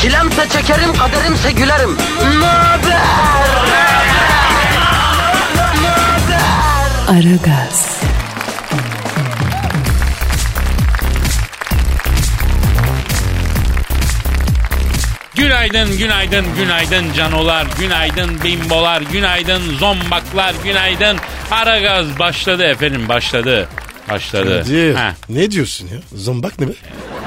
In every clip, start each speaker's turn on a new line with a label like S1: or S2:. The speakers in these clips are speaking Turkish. S1: Çilemse çekerim, kaderimse gülerim. Möber!
S2: Aragaz,
S3: Günaydın, günaydın, günaydın canolar, günaydın bimbolar, günaydın zombaklar, günaydın. Ara gaz başladı efendim, başladı. Başladı.
S4: Kadir,
S3: Heh.
S4: Ne diyorsun ya? Zombak ne be?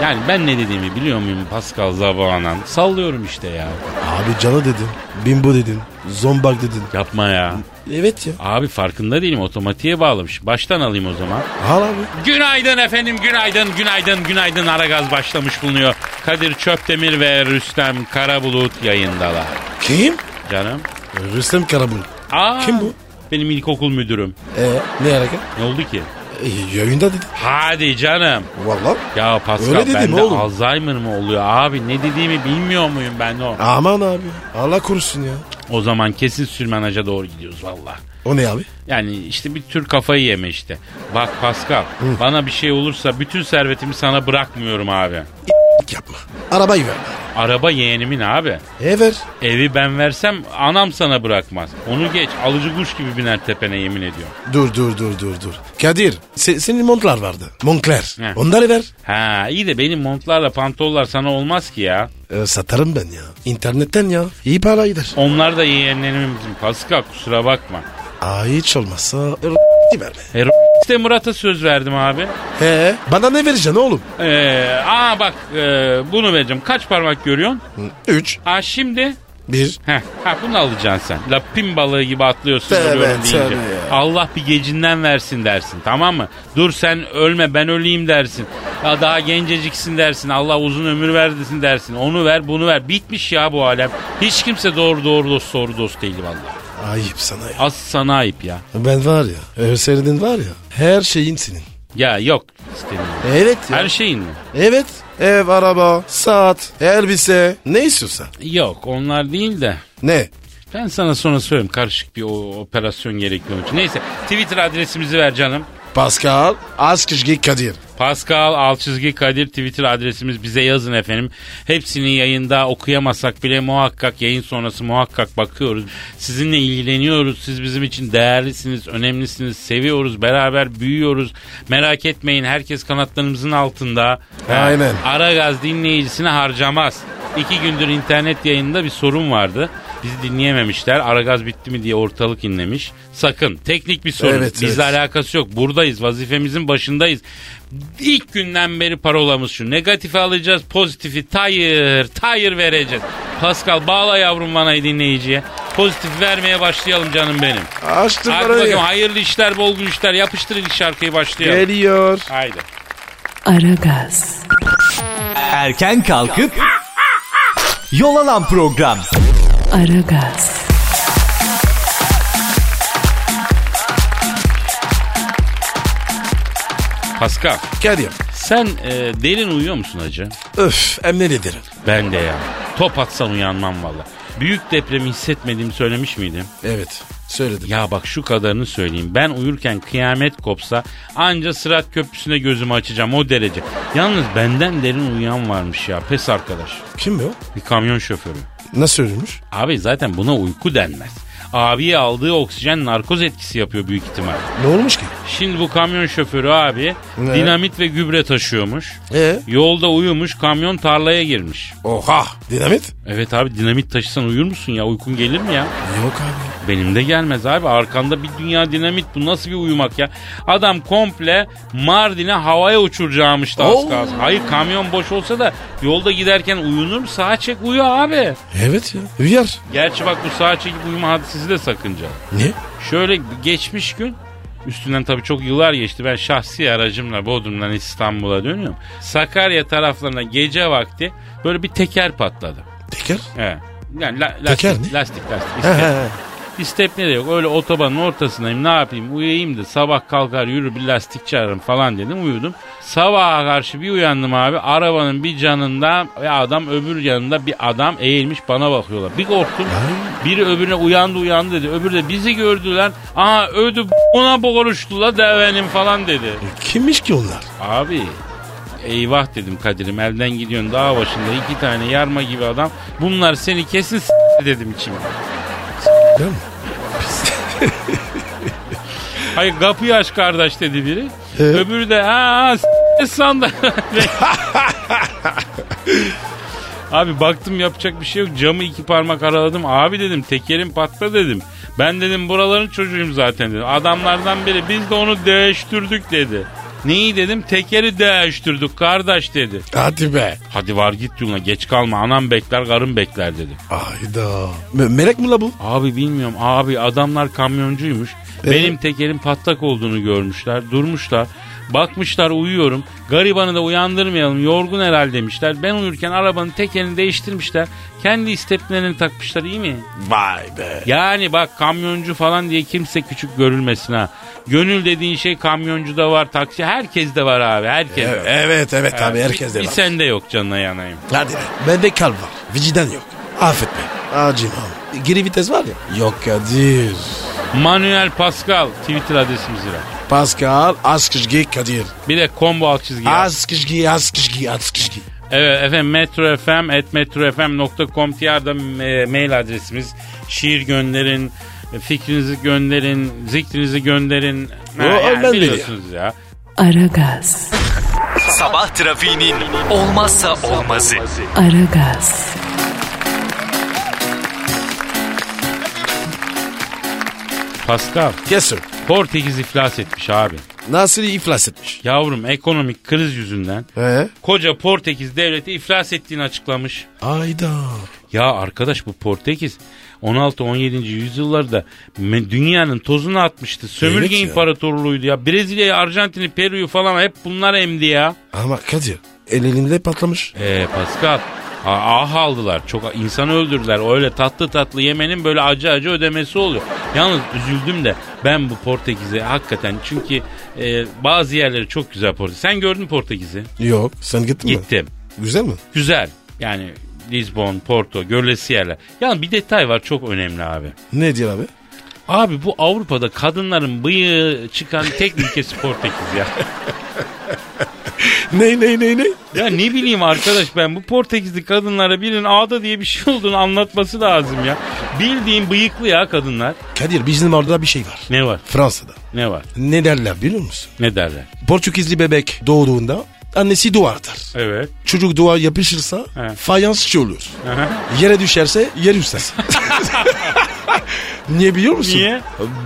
S3: Yani ben ne dediğimi biliyor muyum Pascal Zabanan? Sallıyorum işte ya.
S4: Abi canı dedin. Bimbo dedin. Zombak dedin.
S3: Yapma ya.
S4: Evet ya.
S3: Abi farkında değilim otomatiğe bağlamış. Baştan alayım o zaman.
S4: Al abi.
S3: Günaydın efendim, günaydın, günaydın, günaydın. Aragaz başlamış bulunuyor. Kadir Çöptemir ve Rüstem Karabulut yayındalar.
S4: Kim?
S3: Canım.
S4: Rüstem Karabulut.
S3: Aa,
S4: Kim bu?
S3: Benim ilkokul müdürüm.
S4: Ee, ne hareket?
S3: Ne oldu ki?
S4: Ee, yayında dedin.
S3: Hadi canım.
S4: Valla.
S3: Ya
S4: Öyle
S3: Pascal
S4: dedim
S3: bende
S4: oğlum.
S3: Alzheimer mı oluyor abi? Ne dediğimi bilmiyor muyum ben o?
S4: Aman abi. Allah korusun ya.
S3: O zaman kesin sürmenaja doğru gidiyoruz valla.
S4: O ne abi?
S3: Yani işte bir tür kafayı yeme işte. Bak Pascal bana bir şey olursa bütün servetimi sana bırakmıyorum abi.
S4: Yapma. Arabayı ver.
S3: Araba yeğenimin abi.
S4: E ver.
S3: Evi ben versem anam sana bırakmaz. Onu geç alıcı kuş gibi biner tepene yemin ediyorum.
S4: Dur dur dur dur dur. Kadir se- senin montlar vardı. Montler.
S3: He.
S4: Onları ver.
S3: Ha iyi de benim montlarla pantollar sana olmaz ki ya.
S4: Ee, satarım ben ya. İnternetten ya. İyi para gider.
S3: Onlar da yeğenlerimizin Pascal kusura bakma.
S4: Aa, hiç olmazsa r- ver be.
S3: E, işte Murat'a söz verdim abi.
S4: He. Bana ne vereceksin oğlum?
S3: Ee, aa bak e, bunu vereceğim. Kaç parmak görüyorsun?
S4: Üç.
S3: Aa şimdi.
S4: Bir.
S3: Heh, ha bunu alacaksın sen. Lapin balığı gibi atlıyorsun
S4: Tövbe,
S3: ölüyorum deyince.
S4: tövbe ya.
S3: Allah bir gecinden versin dersin tamam mı? Dur sen ölme ben öleyim dersin. Ya daha genceciksin dersin. Allah uzun ömür versin dersin. Onu ver bunu ver. Bitmiş ya bu alem. Hiç kimse doğru doğru dost doğru dost değil vallahi.
S4: Ayıp sana ya.
S3: Az sana ayıp ya.
S4: Ben var ya. Örseridin var ya. Her şeyin senin.
S3: Ya yok istemiyorum.
S4: Evet ya.
S3: Her şey. şeyin mi?
S4: Evet. Ev, araba, saat, elbise. Ne istiyorsan.
S3: Yok onlar değil de.
S4: Ne?
S3: Ben sana sonra söyleyeyim karışık bir o- operasyon gerekiyormuş. Neyse Twitter adresimizi ver canım.
S4: Pascal Askışgi Kadir.
S3: Pascal Alçızgi Kadir Twitter adresimiz bize yazın efendim. Hepsini yayında okuyamasak bile muhakkak yayın sonrası muhakkak bakıyoruz. Sizinle ilgileniyoruz. Siz bizim için değerlisiniz, önemlisiniz. Seviyoruz, beraber büyüyoruz. Merak etmeyin herkes kanatlarımızın altında.
S4: Aynen.
S3: Aragaz dinleyicisine harcamaz. İki gündür internet yayında bir sorun vardı. Bizi dinleyememişler. Aragaz bitti mi diye ortalık inlemiş. Sakın. Teknik bir sorun.
S4: Evet,
S3: Bizle
S4: evet.
S3: alakası yok. Buradayız. Vazifemizin başındayız. İlk günden beri parolamız şu. Negatifi alacağız. Pozitifi tayır tayır vereceğiz. Pascal bağla yavrum vanayı dinleyiciye. Pozitif vermeye başlayalım canım benim.
S4: Açtım
S3: Hadi
S4: parayı.
S3: bakayım hayırlı işler bol işler. Yapıştırın ilk şarkıyı başlayalım.
S4: Geliyor.
S3: Haydi.
S2: Aragaz,
S5: Erken kalkıp yol alan program.
S2: Aragaz,
S3: Pascal
S4: Kadir.
S3: sen e, derin uyuyor musun hacı?
S4: Öf emne ederim.
S3: Ben de ya. Top atsan uyanmam valla. Büyük depremi hissetmediğimi söylemiş miydim?
S4: Evet söyledim.
S3: Ya bak şu kadarını söyleyeyim. Ben uyurken kıyamet kopsa anca Sırat Köprüsü'ne gözümü açacağım o derece. Yalnız benden derin uyuyan varmış ya pes arkadaş.
S4: Kim o?
S3: Bir kamyon şoförü.
S4: Nasıl ölmüş?
S3: Abi zaten buna uyku denmez. Abiye aldığı oksijen narkoz etkisi yapıyor büyük ihtimal.
S4: Ne olmuş ki?
S3: Şimdi bu kamyon şoförü abi
S4: Ne?
S3: dinamit ve gübre taşıyormuş.
S4: Ee?
S3: Yolda uyumuş kamyon tarlaya girmiş.
S4: Oha. Dinamit?
S3: Evet abi dinamit taşısan uyur musun ya uykun gelir mi ya?
S4: Yok abi.
S3: Benim de gelmez abi. Arkanda bir dünya dinamit bu. Nasıl bir uyumak ya? Adam komple Mardin'e havaya uçuracağımış da az
S4: Oo.
S3: kalsın. Hayır kamyon boş olsa da yolda giderken uyunur mu? Sağa çek uyu abi.
S4: Evet ya. Uyar.
S3: Gerçi bak bu sağa çekip uyuma hadisesi de sakınca.
S4: Ne?
S3: Şöyle geçmiş gün Üstünden tabii çok yıllar geçti. Ben şahsi aracımla Bodrum'dan İstanbul'a dönüyorum. Sakarya taraflarına gece vakti böyle bir teker patladı.
S4: Teker?
S3: He. Yani la- lastik,
S6: Teker mi?
S3: lastik lastik.
S6: He
S3: İstep,
S6: he.
S3: istepne de yok. Öyle otobanın ortasındayım ne yapayım uyuyayım da sabah kalkar yürü bir lastikçi ararım falan dedim uyudum. Sabaha karşı bir uyandım abi arabanın bir canında ve adam öbür yanında bir adam eğilmiş bana bakıyorlar. Bir korktum biri öbürüne uyandı uyandı dedi öbürü de bizi gördüler. Aa ödü ona boğuluştu la devenim falan dedi.
S4: Kimmiş ki onlar?
S3: Abi eyvah dedim Kadir'im elden gidiyorsun dağ başında iki tane yarma gibi adam. Bunlar seni kesin s- dedim içime.
S4: Değil mi?
S3: Hayır kapıyı aç kardeş dedi biri.
S4: Evet.
S3: Öbürü de ha s- sandı. Abi baktım yapacak bir şey yok. Camı iki parmak araladım. Abi dedim tekerim patla dedim. Ben dedim buraların çocuğuyum zaten dedim. Adamlardan biri biz de onu değiştirdik dedi. Neyi dedim? Tekeri değiştirdik kardeş dedi.
S4: Hadi be.
S3: Hadi var git yoluna geç kalma anam bekler karım bekler dedi.
S4: Ayda. Me- melek mi la bu?
S3: Abi bilmiyorum abi adamlar kamyoncuymuş. Benim tekerim patlak olduğunu görmüşler durmuşlar. Bakmışlar uyuyorum. Garibanı da uyandırmayalım yorgun herhalde demişler. Ben uyurken arabanın tekerini değiştirmişler. Kendi isteplerini takmışlar iyi mi?
S4: Vay be.
S3: Yani bak kamyoncu falan diye kimse küçük görülmesin ha. Gönül dediğin şey kamyoncu da var taksi herkes de var abi herkes.
S4: Evet evet, evet abi herkes
S3: bir,
S4: de
S3: bir
S4: var.
S3: sende yok canına yanayım.
S4: Hadi be. Bende kal var. Vicdan yok. Affet be. Acımam. Geri vites var ya. Yok Kadir.
S3: Manuel Pascal Twitter adresimiz var.
S4: Pascal Askışgi Kadir.
S3: Bir de combo alt çizgi. yaz.
S4: Askışgi Askışgi Askışgi.
S3: Evet efendim Metro FM at metrofm.com.tr'da e, mail adresimiz. Şiir gönderin, e, fikrinizi gönderin, zikrinizi gönderin. Ha,
S4: O- o ben de
S3: biliyorsunuz ya.
S2: Aragaz,
S5: Sabah trafiğinin olmazsa olmazı.
S2: Aragaz,
S3: Pascal,
S4: Yes sir.
S3: Portekiz iflas etmiş abi.
S6: Nasıl iflas etmiş?
S3: Yavrum ekonomik kriz yüzünden
S6: He?
S3: koca Portekiz devleti iflas ettiğini açıklamış.
S4: Ayda.
S3: Ya arkadaş bu Portekiz 16-17. yüzyıllarda me- dünyanın tozunu atmıştı. Sömürge
S4: Evet ya.
S3: imparatorluğuydu ya. Brezilya'yı, Arjantin'i, Peru'yu falan hep bunlar emdi ya.
S4: Ama Kadir el elinde patlamış.
S3: Ee Pascal a- ah aldılar. Çok insan öldürdüler. Öyle tatlı tatlı yemenin böyle acı acı ödemesi oluyor. Yalnız üzüldüm de ben bu Portekiz'e hakikaten çünkü e, bazı yerleri çok güzel Portekiz. Sen gördün mü Portekiz'i?
S4: Yok sen gittin mi?
S3: Gittim.
S4: Güzel mi?
S3: Güzel. Yani Lisbon, Porto, görülesi yerler. Yalnız bir detay var çok önemli abi.
S4: Ne diyor abi?
S3: Abi bu Avrupa'da kadınların bıyığı çıkan tek ülkesi Portekiz ya.
S4: Ne ne ne ne?
S3: Ya ne bileyim arkadaş ben bu Portekizli kadınlara birinin ağda diye bir şey olduğunu anlatması lazım ya. Bildiğin bıyıklı ya kadınlar.
S4: Kadir bizim orada bir şey var.
S3: Ne var?
S4: Fransa'da.
S3: Ne var?
S4: Ne derler biliyor musun?
S3: Ne derler?
S4: Portekizli bebek doğduğunda annesi dua atar.
S3: Evet.
S4: Çocuk dua yapışırsa
S3: He.
S4: fayansçı olur.
S3: Aha.
S4: Yere düşerse yer üstesi. Niye biliyor musun?
S3: Niye?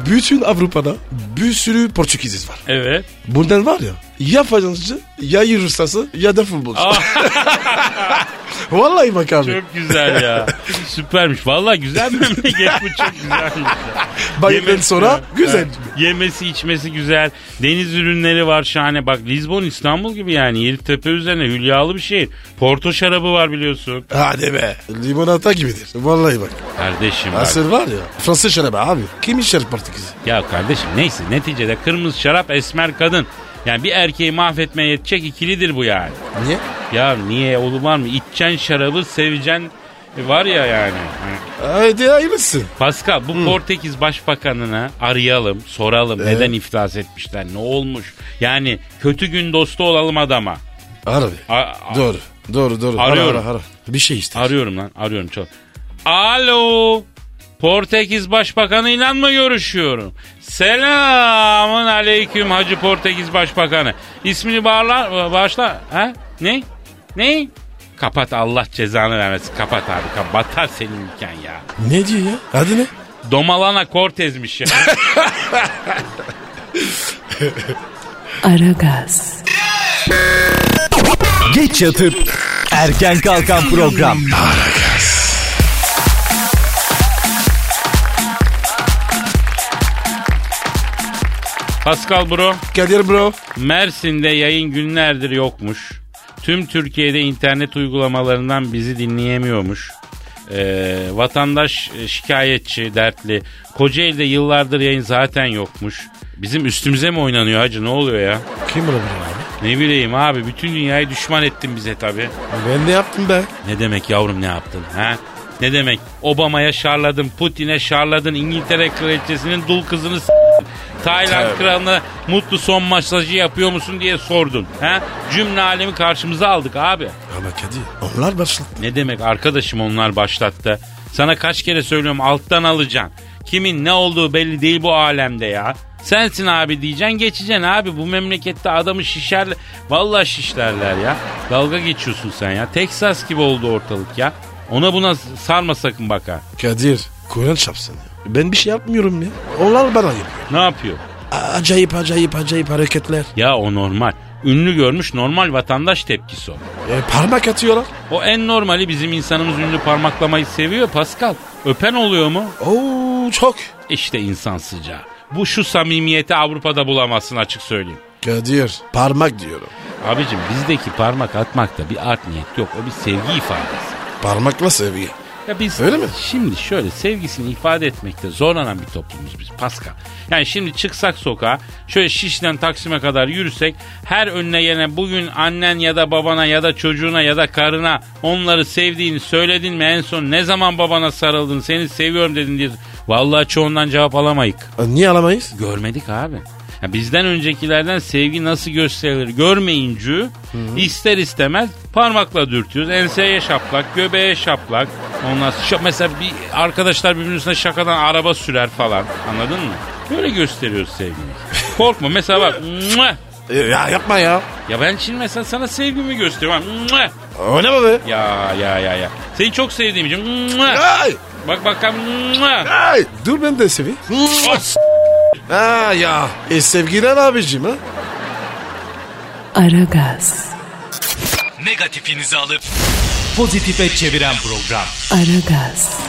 S4: Bütün Avrupa'da bir sürü Portekiziz var.
S3: Evet.
S4: Bundan var ya ya fayansçı ya yer üstesi ya da futbolcu. Vallahi bak abi.
S3: Ah. Çok güzel ya. Süpermiş. Vallahi güzel memleket bu çok güzelmiş. ya.
S4: Bayıldan
S3: Yemek-
S4: sonra güzel.
S3: Evet. Yemesi içmesi güzel. Deniz ürünleri var şahane. Bak Lizbon İstanbul gibi yani. Yeditepe üzerine hülyalı bir şehir. Porto şarabı var biliyorsun.
S4: Hadi be. Limonata gibidir. Vallahi bak.
S3: Kardeşim bak.
S4: Asır var ya. Fransız şarabı abi. Kim içer Portekiz'i?
S3: Ya kardeşim neyse neticede kırmızı şarap esmer kadın. Yani bir erkeği mahvetmeye yetecek ikilidir bu yani.
S4: Niye?
S3: Ya niye oğlum var mı? İçeceksin şarabı seveceksin E, var ya yani. Hı.
S4: Haydi hayırlısı.
S3: Pascal bu Portekiz Başbakanına arayalım soralım neden iflas etmişler ne olmuş. Yani kötü gün dostu olalım adama.
S4: Arabi.
S3: A- a-
S4: Doğru. Doğru doğru. Ara,
S3: Arıyorum.
S4: Ara, ara. Bir şey ister.
S3: arıyorum lan arıyorum çok. Alo Portekiz Başbakanı'yla mı görüşüyorum? Selamın aleyküm Hacı Portekiz Başbakanı. İsmini bağla, bağışla. Ha? Ne? Ne? Kapat Allah cezanı vermesin. Kapat abi. Kapat. Batar senin ülken ya.
S4: ne diyor ya? Adı ne?
S3: Domalana Cortez'miş ya.
S2: Aragaz,
S5: Geç yatıp erken kalkan program.
S3: Pascal bro.
S4: Kadir bro.
S3: Mersin'de yayın günlerdir yokmuş. Tüm Türkiye'de internet uygulamalarından bizi dinleyemiyormuş. Ee, vatandaş e, şikayetçi, dertli. Kocaeli'de yıllardır yayın zaten yokmuş. Bizim üstümüze mi oynanıyor hacı ne oluyor ya?
S4: Kim olabilir abi?
S3: Ne bileyim abi bütün dünyayı düşman ettin bize tabii.
S4: Ben ne yaptım be?
S3: Ne demek yavrum ne yaptın ha? Ne demek? Obama'ya şarladın, Putin'e şarladın, İngiltere kraliçesinin dul kızını s- Tayland kralına mutlu son masajı yapıyor musun diye sordun. Ha? Cümle alemi karşımıza aldık abi.
S4: Ama Kadir onlar başlattı.
S3: Ne demek arkadaşım onlar başlattı. Sana kaç kere söylüyorum alttan alacaksın. Kimin ne olduğu belli değil bu alemde ya. Sensin abi diyeceksin geçeceksin abi. Bu memlekette adamı şişerler. Vallahi şişlerler ya. Dalga geçiyorsun sen ya. Texas gibi oldu ortalık ya. Ona buna sarma sakın bak ha.
S4: Kadir Kur'an çapsın ya. Ben bir şey yapmıyorum ya. Onlar bana yapıyor.
S3: Ne yapıyor?
S4: A- Acayip acayip acayip hareketler.
S3: Ya o normal. Ünlü görmüş normal vatandaş tepkisi o.
S4: E, parmak atıyorlar.
S3: O en normali bizim insanımız ünlü parmaklamayı seviyor Pascal. Öpen oluyor mu?
S4: Oo çok.
S3: İşte insan sıcağı. Bu şu samimiyeti Avrupa'da bulamazsın açık söyleyeyim.
S4: Kadir parmak diyorum.
S3: Abicim bizdeki parmak atmakta bir art niyet yok. O bir sevgi ifadesi.
S4: Parmakla sevgi.
S3: Ya biz
S4: Öyle mi?
S3: şimdi şöyle sevgisini ifade etmekte zorlanan bir toplumuz biz Pascal. Yani şimdi çıksak sokağa şöyle Şişli'den Taksim'e kadar yürüsek her önüne gelen bugün annen ya da babana ya da çocuğuna ya da karına onları sevdiğini söyledin mi en son ne zaman babana sarıldın seni seviyorum dedin diye. Vallahi çoğundan cevap alamayık.
S4: E, Niye alamayız?
S3: Görmedik abi. Ya bizden öncekilerden sevgi nasıl gösterilir görmeyince ister istemez parmakla dürtüyoruz. Enseye şaplak, göbeğe şaplak. Ondan sonra şa- mesela bir arkadaşlar birbirinin üstüne şakadan araba sürer falan. Anladın mı? Böyle gösteriyoruz sevgiyi. Korkma mesela bak. "Mua!"
S4: E, ya yapma ya.
S3: ya ben şimdi mesela sana sevgimi gösteriyorum. "Mua!"
S4: Oynama be.
S3: Ya ya ya ya. Seni çok sevdiğim için. "Mua!"
S4: Ay.
S3: Bak bakalım. "Mua!"
S4: Ay. Dur ben de seveyim.
S3: Of!
S4: Ha ya. E sevgiler abicim ha.
S2: Aragaz,
S5: Negatifinizi alıp pozitife çeviren program.
S2: Aragaz,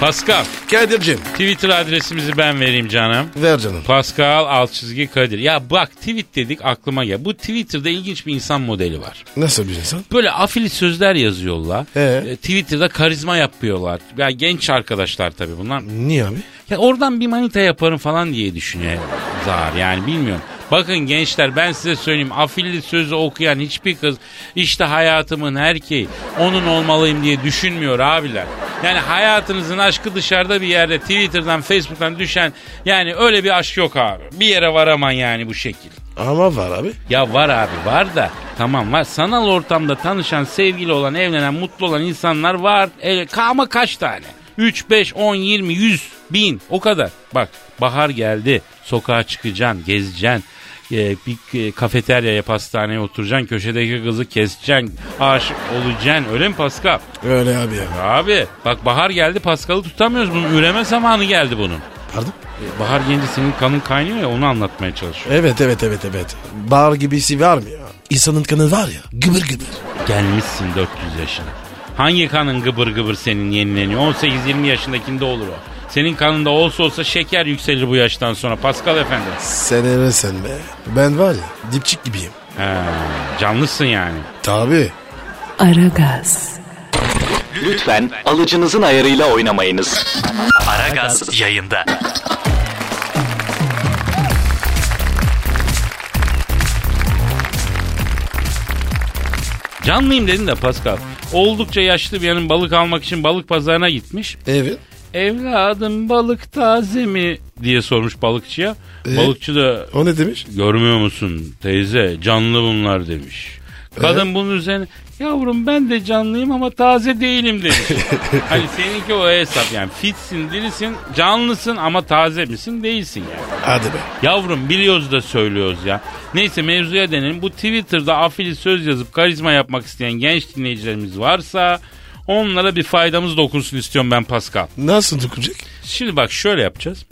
S3: Pascal
S4: Kadir'cim
S3: Twitter adresimizi ben vereyim canım.
S4: ver canım.
S3: Pascal alt çizgi Kadir. Ya bak tweet dedik aklıma gel. Bu Twitter'da ilginç bir insan modeli var.
S4: Nasıl bir insan?
S3: Böyle afili sözler yazıyorlar.
S4: Ee?
S3: E, Twitter'da karizma yapıyorlar. Ya genç arkadaşlar tabii bunlar.
S4: Niye abi?
S3: Ya oradan bir manita yaparım falan diye düşünüyor Zahar yani bilmiyorum. Bakın gençler ben size söyleyeyim afilli sözü okuyan hiçbir kız işte hayatımın erkeği onun olmalıyım diye düşünmüyor abiler. Yani hayatınızın aşkı dışarıda bir yerde Twitter'dan Facebook'tan düşen yani öyle bir aşk yok abi. Bir yere varaman yani bu şekil.
S4: Ama var abi.
S3: Ya var abi var da tamam var. Sanal ortamda tanışan, sevgili olan, evlenen, mutlu olan insanlar var. E, ka- ama kaç tane? 3, 5, 10, 20, 100, 1000 o kadar. Bak bahar geldi. Sokağa çıkacaksın, gezeceksin. E, bir e, kafeteryaya, pastaneye oturacaksın. Köşedeki kızı keseceksin. Aşık olacaksın. Öyle mi Pascal?
S4: Öyle abi ya.
S3: Abi bak bahar geldi. Paskal'ı tutamıyoruz. Bunun üreme zamanı geldi bunun.
S4: Pardon?
S3: E, bahar gelince senin kanın kaynıyor ya onu anlatmaya çalışıyorum.
S4: Evet evet evet evet. Bar gibisi var mı ya? İnsanın kanı var ya. Gıbır gıbır.
S3: Gelmişsin 400 yaşına. Hangi kanın gıbır gıbır senin yenileniyor? 18-20 yaşındakinde olur o. Senin kanında olsa olsa şeker yükselir bu yaştan sonra Pascal efendi.
S4: Sen ölürsen be. Ben var ya dipçik gibiyim.
S3: He, canlısın yani.
S4: Tabi.
S2: Aragaz,
S7: Lütfen alıcınızın ayarıyla oynamayınız.
S5: Aragaz yayında.
S3: Canlıyım dedin de Pascal. Oldukça yaşlı bir yanın balık almak için balık pazarına gitmiş.
S4: Evet.
S3: Evladım balık taze mi diye sormuş balıkçıya. Balıkçı da
S4: O ne demiş?
S3: Görmüyor musun teyze canlı bunlar demiş. Kadın bunun üzerine yavrum ben de canlıyım ama taze değilim demiş. hani seninki o hesap yani fitsin dirisin canlısın ama taze misin değilsin yani.
S4: Hadi be.
S3: Yavrum biliyoruz da söylüyoruz ya. Neyse mevzuya dönelim. Bu Twitter'da afili söz yazıp karizma yapmak isteyen genç dinleyicilerimiz varsa onlara bir faydamız dokunsun istiyorum ben Pascal.
S4: Nasıl dokunacak?
S3: Şimdi bak şöyle yapacağız.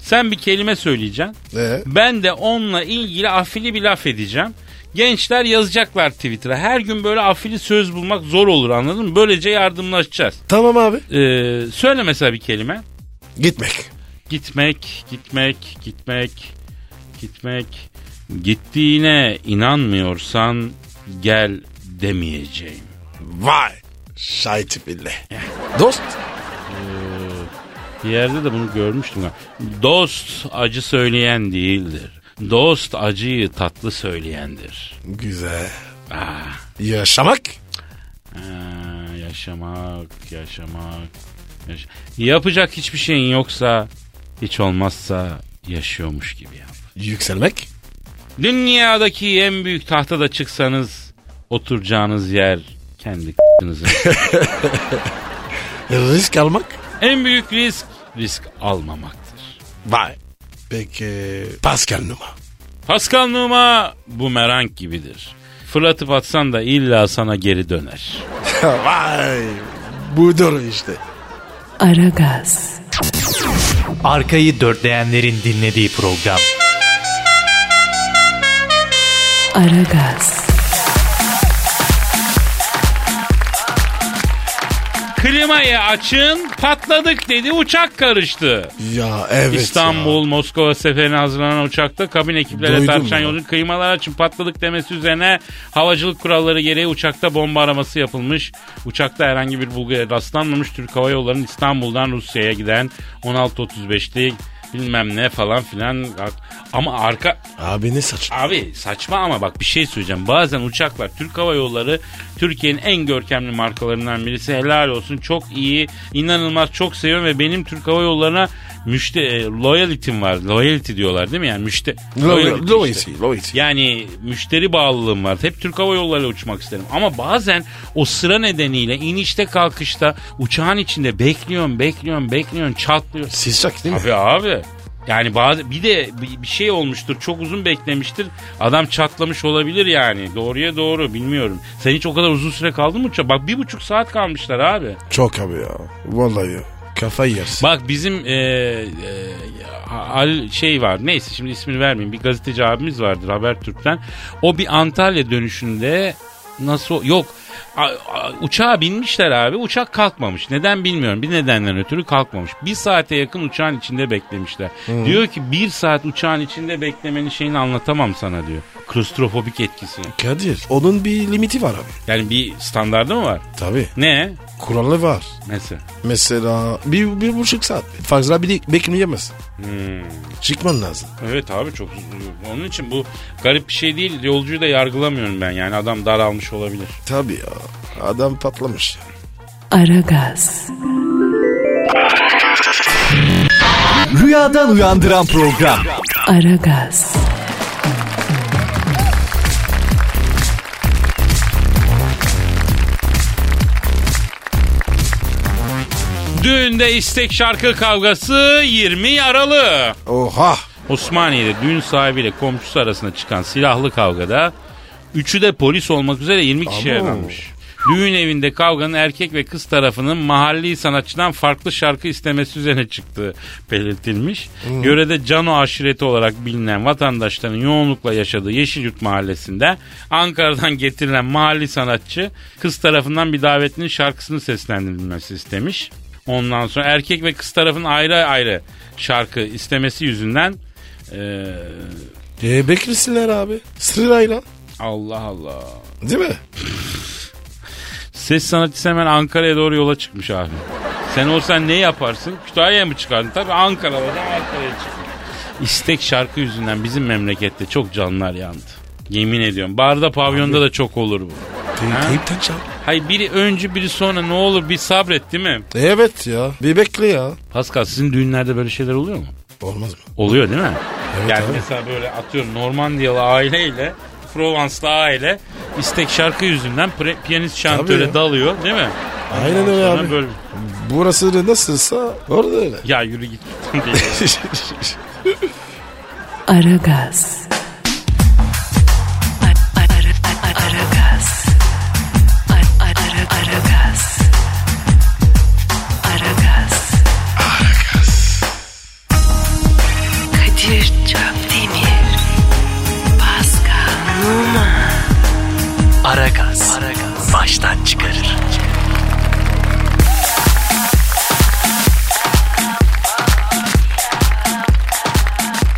S3: Sen bir kelime söyleyeceksin.
S4: Ee?
S3: Ben de onunla ilgili afili bir laf edeceğim. Gençler yazacaklar Twitter'a. Her gün böyle afili söz bulmak zor olur anladın mı? Böylece yardımlaşacağız.
S4: Tamam abi.
S3: Ee, söyle mesela bir kelime.
S4: Gitmek.
S3: Gitmek, gitmek, gitmek, gitmek. Gittiğine inanmıyorsan gel demeyeceğim.
S4: Vay. Şahit bile. Dost.
S3: Bir yerde de bunu görmüştüm. ha. Dost acı söyleyen değildir. Dost acıyı tatlı söyleyendir.
S4: Güzel. Yaşamak.
S3: Ha, Ee, yaşamak, yaşamak. yaş- Yapacak hiçbir şeyin yoksa, hiç olmazsa yaşıyormuş gibi yap.
S4: Yükselmek.
S3: Dünyadaki en büyük tahtada çıksanız oturacağınız yer kendi k***nızın.
S4: Risk almak.
S3: en büyük risk risk almamaktır.
S4: Vay. Peki Pascal Numa.
S3: Pascal Numa bumerang gibidir. Fırlatıp atsan da illa sana geri döner.
S4: Vay. Bu doğru işte.
S2: Aragaz,
S5: Arkayı dörtleyenlerin dinlediği program.
S2: Aragaz,
S3: Klimayı açın patladık dedi uçak karıştı.
S4: Ya evet
S3: İstanbul, Moskova seferine hazırlanan uçakta kabin ekiplerine
S4: Duydum
S3: tartışan
S4: ya.
S3: yolcu kıymalar açın patladık demesi üzerine havacılık kuralları gereği uçakta bomba araması yapılmış. Uçakta herhangi bir bulguya rastlanmamış Türk Hava Yolları'nın İstanbul'dan Rusya'ya giden 16.35'lik bilmem ne falan filan. Ama arka
S4: Ya. Abi ne saçma.
S3: Abi saçma ama bak bir şey söyleyeceğim. Bazen uçaklar Türk Hava Yolları Türkiye'nin en görkemli markalarından birisi. Helal olsun çok iyi inanılmaz çok seviyorum ve benim Türk Hava Yolları'na müşte e, loyality'm var. Loyalty diyorlar değil mi yani müşte. loyalty işte.
S4: Loisi. Loisi.
S3: Yani müşteri bağlılığım var. Hep Türk Hava Yolları uçmak isterim. Ama bazen o sıra nedeniyle inişte kalkışta uçağın içinde bekliyorum, bekliyorum, bekliyorum, çatlıyor.
S4: Sıcak değil mi?
S3: Abi abi. Yani bazı bir de bir- bir şey olmuştur. Çok uzun beklemiştir. Adam çatlamış olabilir yani. Doğruya doğru bilmiyorum. Sen hiç o kadar uzun süre kaldın mı uçağa? Bak bir buçuk saat kalmışlar abi.
S4: Çok abi ya. Vallahi ya. Kafayı yersin.
S3: Bak bizim e, e, al şey var. Neyse şimdi ismini vermeyeyim. Bir gazeteci abimiz vardır Habertürk'ten. O bir Antalya dönüşünde nasıl yok a- a- uçağa binmişler abi. Uçak kalkmamış. Neden bilmiyorum. Bir nedenden ötürü kalkmamış. Bir saate yakın uçağın içinde beklemişler. Diyor ki bir saat uçağın içinde beklemenin şeyini anlatamam sana diyor. Klostrofobik etkisini.
S4: Kadir onun bir limiti var abi.
S3: Yani bir standardı mı var?
S4: Tabi.
S3: Ne?
S4: Kuralları var.
S3: Mesela.
S4: Mesela bir, bir buçuk saat. Fazla bir bekleyemezsin.
S3: Hmm.
S4: Çıkman lazım.
S3: Evet abi çok onun için bu garip bir şey değil. Yolcuyu da yargılamıyorum ben yani adam daralmış olabilir.
S4: Tabi ya. Adam patlamış ya.
S2: Aragaz,
S5: Rüyadan uyandıran program.
S2: Aragaz,
S3: Düğünde istek şarkı kavgası 20 Aralık.
S4: Oha.
S3: Osmaniye'de düğün sahibiyle komşusu arasında çıkan silahlı kavgada üçü de polis olmak üzere 20 kişi
S4: Abo.
S3: yaralanmış. Düğün evinde kavganın erkek ve kız tarafının mahalli sanatçıdan farklı şarkı istemesi üzerine çıktığı belirtilmiş. Görede Cano aşireti olarak bilinen vatandaşların yoğunlukla yaşadığı Yeşilyurt mahallesinde Ankara'dan getirilen mahalli sanatçı kız tarafından bir davetlinin şarkısını seslendirilmesi istemiş. Ondan sonra erkek ve kız tarafın ayrı ayrı şarkı istemesi yüzünden eee,
S4: E, beklesinler abi. Sırayla.
S3: Allah Allah.
S4: Değil mi?
S3: Ses sanatçısı hemen Ankara'ya doğru yola çıkmış abi. Sen olsan ne yaparsın? Kütahya'ya mı çıkardın? Tabii Ankara'dan Ankara'ya çıkmış. İstek şarkı yüzünden bizim memlekette çok canlar yandı. Yemin ediyorum. Barda pavyonda da çok olur bu.
S4: Te- Teypten çal.
S3: Hayır biri öncü biri sonra ne olur bir sabret değil mi?
S4: Evet ya. Bir bekle ya.
S3: Pascal sizin düğünlerde böyle şeyler oluyor mu?
S4: Olmaz mı?
S3: Oluyor değil mi? yani
S4: abi.
S3: mesela böyle atıyorum Normandiyalı aileyle Provanslı aile istek şarkı yüzünden pre- piyanist şantöre
S4: ya.
S3: dalıyor değil mi?
S4: Aynen öyle
S3: Sonra
S4: abi.
S3: Böyle,
S4: Burası da nasılsa orada öyle.
S3: ya yürü git.
S2: Aragaz. Ar- ar- ar- Aragaz, Ar- ar- ar- Aragaz, Aragaz. Kadir Çöpdemir, Pascal Numa,
S5: Aragaz. Baştan çıkarır.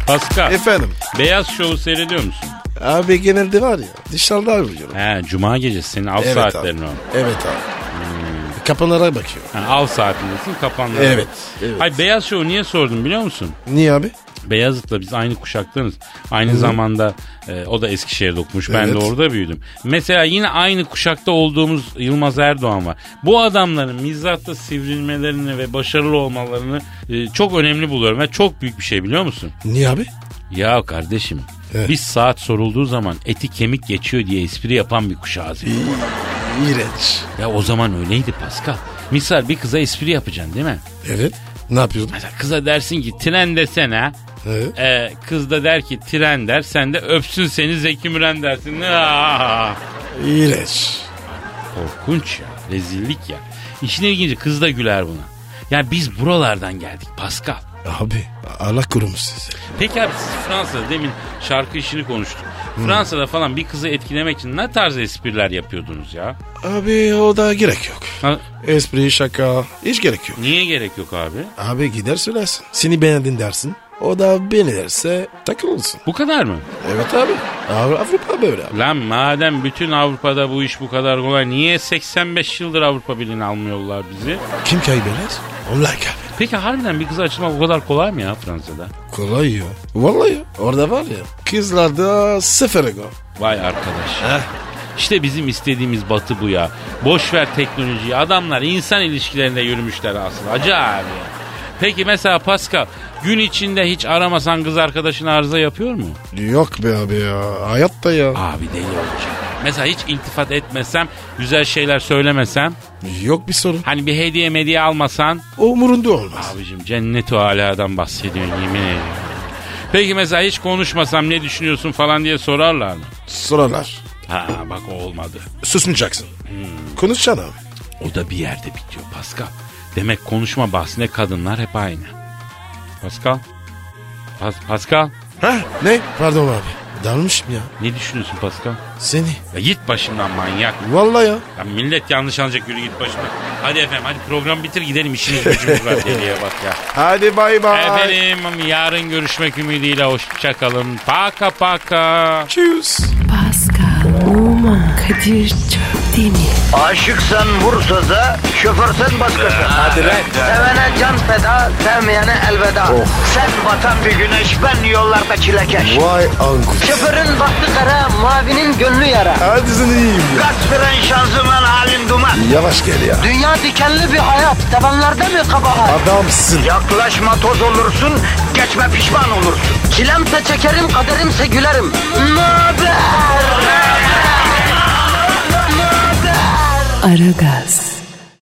S3: Pascal,
S4: Efendim.
S3: Beyaz Şov'u seyrediyor musun?
S4: Abi genelde var ya dışarıda arıyorum.
S3: He, cuma gecesi senin av
S4: Evet
S3: saatlerin
S4: abi.
S3: o. Hmm.
S4: Evet abi. Kapanlara bakıyor.
S3: Ha, av saatindesin kapanlar.
S4: Evet, evet.
S3: Ay beyaz şovu niye sordum biliyor musun?
S4: Niye abi?
S3: Beyazıt'la biz aynı kuşaktanız. Aynı zamanda e, o da Eskişehir'de okumuş. Ben de
S4: Evet.
S3: orada büyüdüm. Mesela yine aynı kuşakta olduğumuz Yılmaz Erdoğan var. Bu adamların mizahta sivrilmelerini ve başarılı olmalarını e, çok önemli buluyorum. Ve çok büyük bir şey biliyor musun?
S4: Niye abi?
S3: Ya kardeşim
S4: Evet.
S3: biz saat sorulduğu zaman eti kemik geçiyor diye espri yapan bir kuşağız. biz.
S4: İğrenç.
S3: Ya o zaman öyleydi Pascal. Misal bir kıza espri yapacaksın değil mi?
S4: Evet. Ne yapıyordun?
S3: Mesela kıza dersin ki tren desene.
S4: Evet.
S3: Ee, kız da der ki tren der. Sen de öpsün seni Zeki Müren dersin. Aa,
S4: İğrenç.
S3: korkunç ya. Rezillik ya. İşin ilginci kız da güler buna. Ya biz buralardan geldik Pascal.
S4: Abi Allah korumuş sizi.
S3: Peki abi siz Fransa'da demin şarkı işini konuştuk. Fransa'da falan bir kızı etkilemek için ne tarz espriler yapıyordunuz ya?
S4: Abi o da gerek yok.
S3: Ha,
S4: Espri, şaka hiç gerek yok.
S3: niye gerek yok abi?
S4: Abi gider söylersin. Seni beğendin dersin. O da beni derse takılılsın.
S3: Bu kadar mı?
S4: Evet abi. Abi Avrupa böyle abi.
S3: Lan madem bütün Avrupa'da bu iş bu kadar kolay niye 85 yıldır Avrupa Birliği'ne almıyorlar bizi?
S4: Kim kaybeder? Onlar kaybeder.
S3: Peki harbiden bir kız açılmak o kadar kolay mı ya Fransa'da?
S4: Kolay ya. Vallahi ya. Orada var ya. Kızlarda sıfır ego.
S3: Vay arkadaş. İşte bizim istediğimiz batı bu ya. Boş ver teknolojiyi. Adamlar insan ilişkilerinde yürümüşler aslında. Acayip ya. Peki mesela Pascal gün içinde hiç aramasan kız arkadaşın arıza yapıyor mu?
S4: Yok be abi ya. Hayatta ya.
S3: Abi deli olacak. Mesela hiç iltifat etmesem, güzel şeyler söylemesem,
S4: Yok bir sorun.
S3: hani bir hediye mediye almasan.
S4: Umurunda olmaz.
S3: Abicim cennet o aladan bahsediyorsun yemin ediyorum. Peki mesela hiç konuşmasam ne düşünüyorsun falan diye sorarlar mı?
S4: Sorarlar.
S3: Ha bak o olmadı.
S4: Susmayacaksın. Konuşacaksın abi.
S3: O da bir yerde bitiyor Pascal. Demek konuşma bahsine kadınlar hep aynı. Pascal? Pas- Pascal?
S4: Ha? Ne? Pardon abi. Dalmışım ya.
S3: Ne düşünüyorsun Pascal?
S4: Seni.
S3: Ya git başımdan manyak.
S4: Vallahi ya.
S3: Ya millet yanlış anlayacak yürü git başımdan. Hadi efendim hadi program bitir gidelim işiniz gücünüz var deliye bak ya.
S6: Hadi bay bay.
S3: Efendim yarın görüşmek ümidiyle hoşçakalın. Paka paka.
S4: Tschüss.
S2: Pascal, Oman, Kadir çok değil mi?
S1: Aşıksan vursa da, şoförsen başkasın. Hadi Sevene can feda, sevmeyene elveda. Sen batan bir güneş, ben yollarda çilekeş.
S6: Vay anku.
S1: Şoförün baktı kara, mavinin gönlü yara.
S6: Hadi sen iyiyim ya.
S1: Kasperen şanzıman halin duman.
S6: Yavaş gel ya.
S1: Dünya dikenli bir hayat, sevenlerde mi kabahar?
S6: Adamsın.
S1: Yaklaşma toz olursun, geçme pişman olursun. Çilemse çekerim, kaderimse gülerim. Möber!
S2: Aragaz.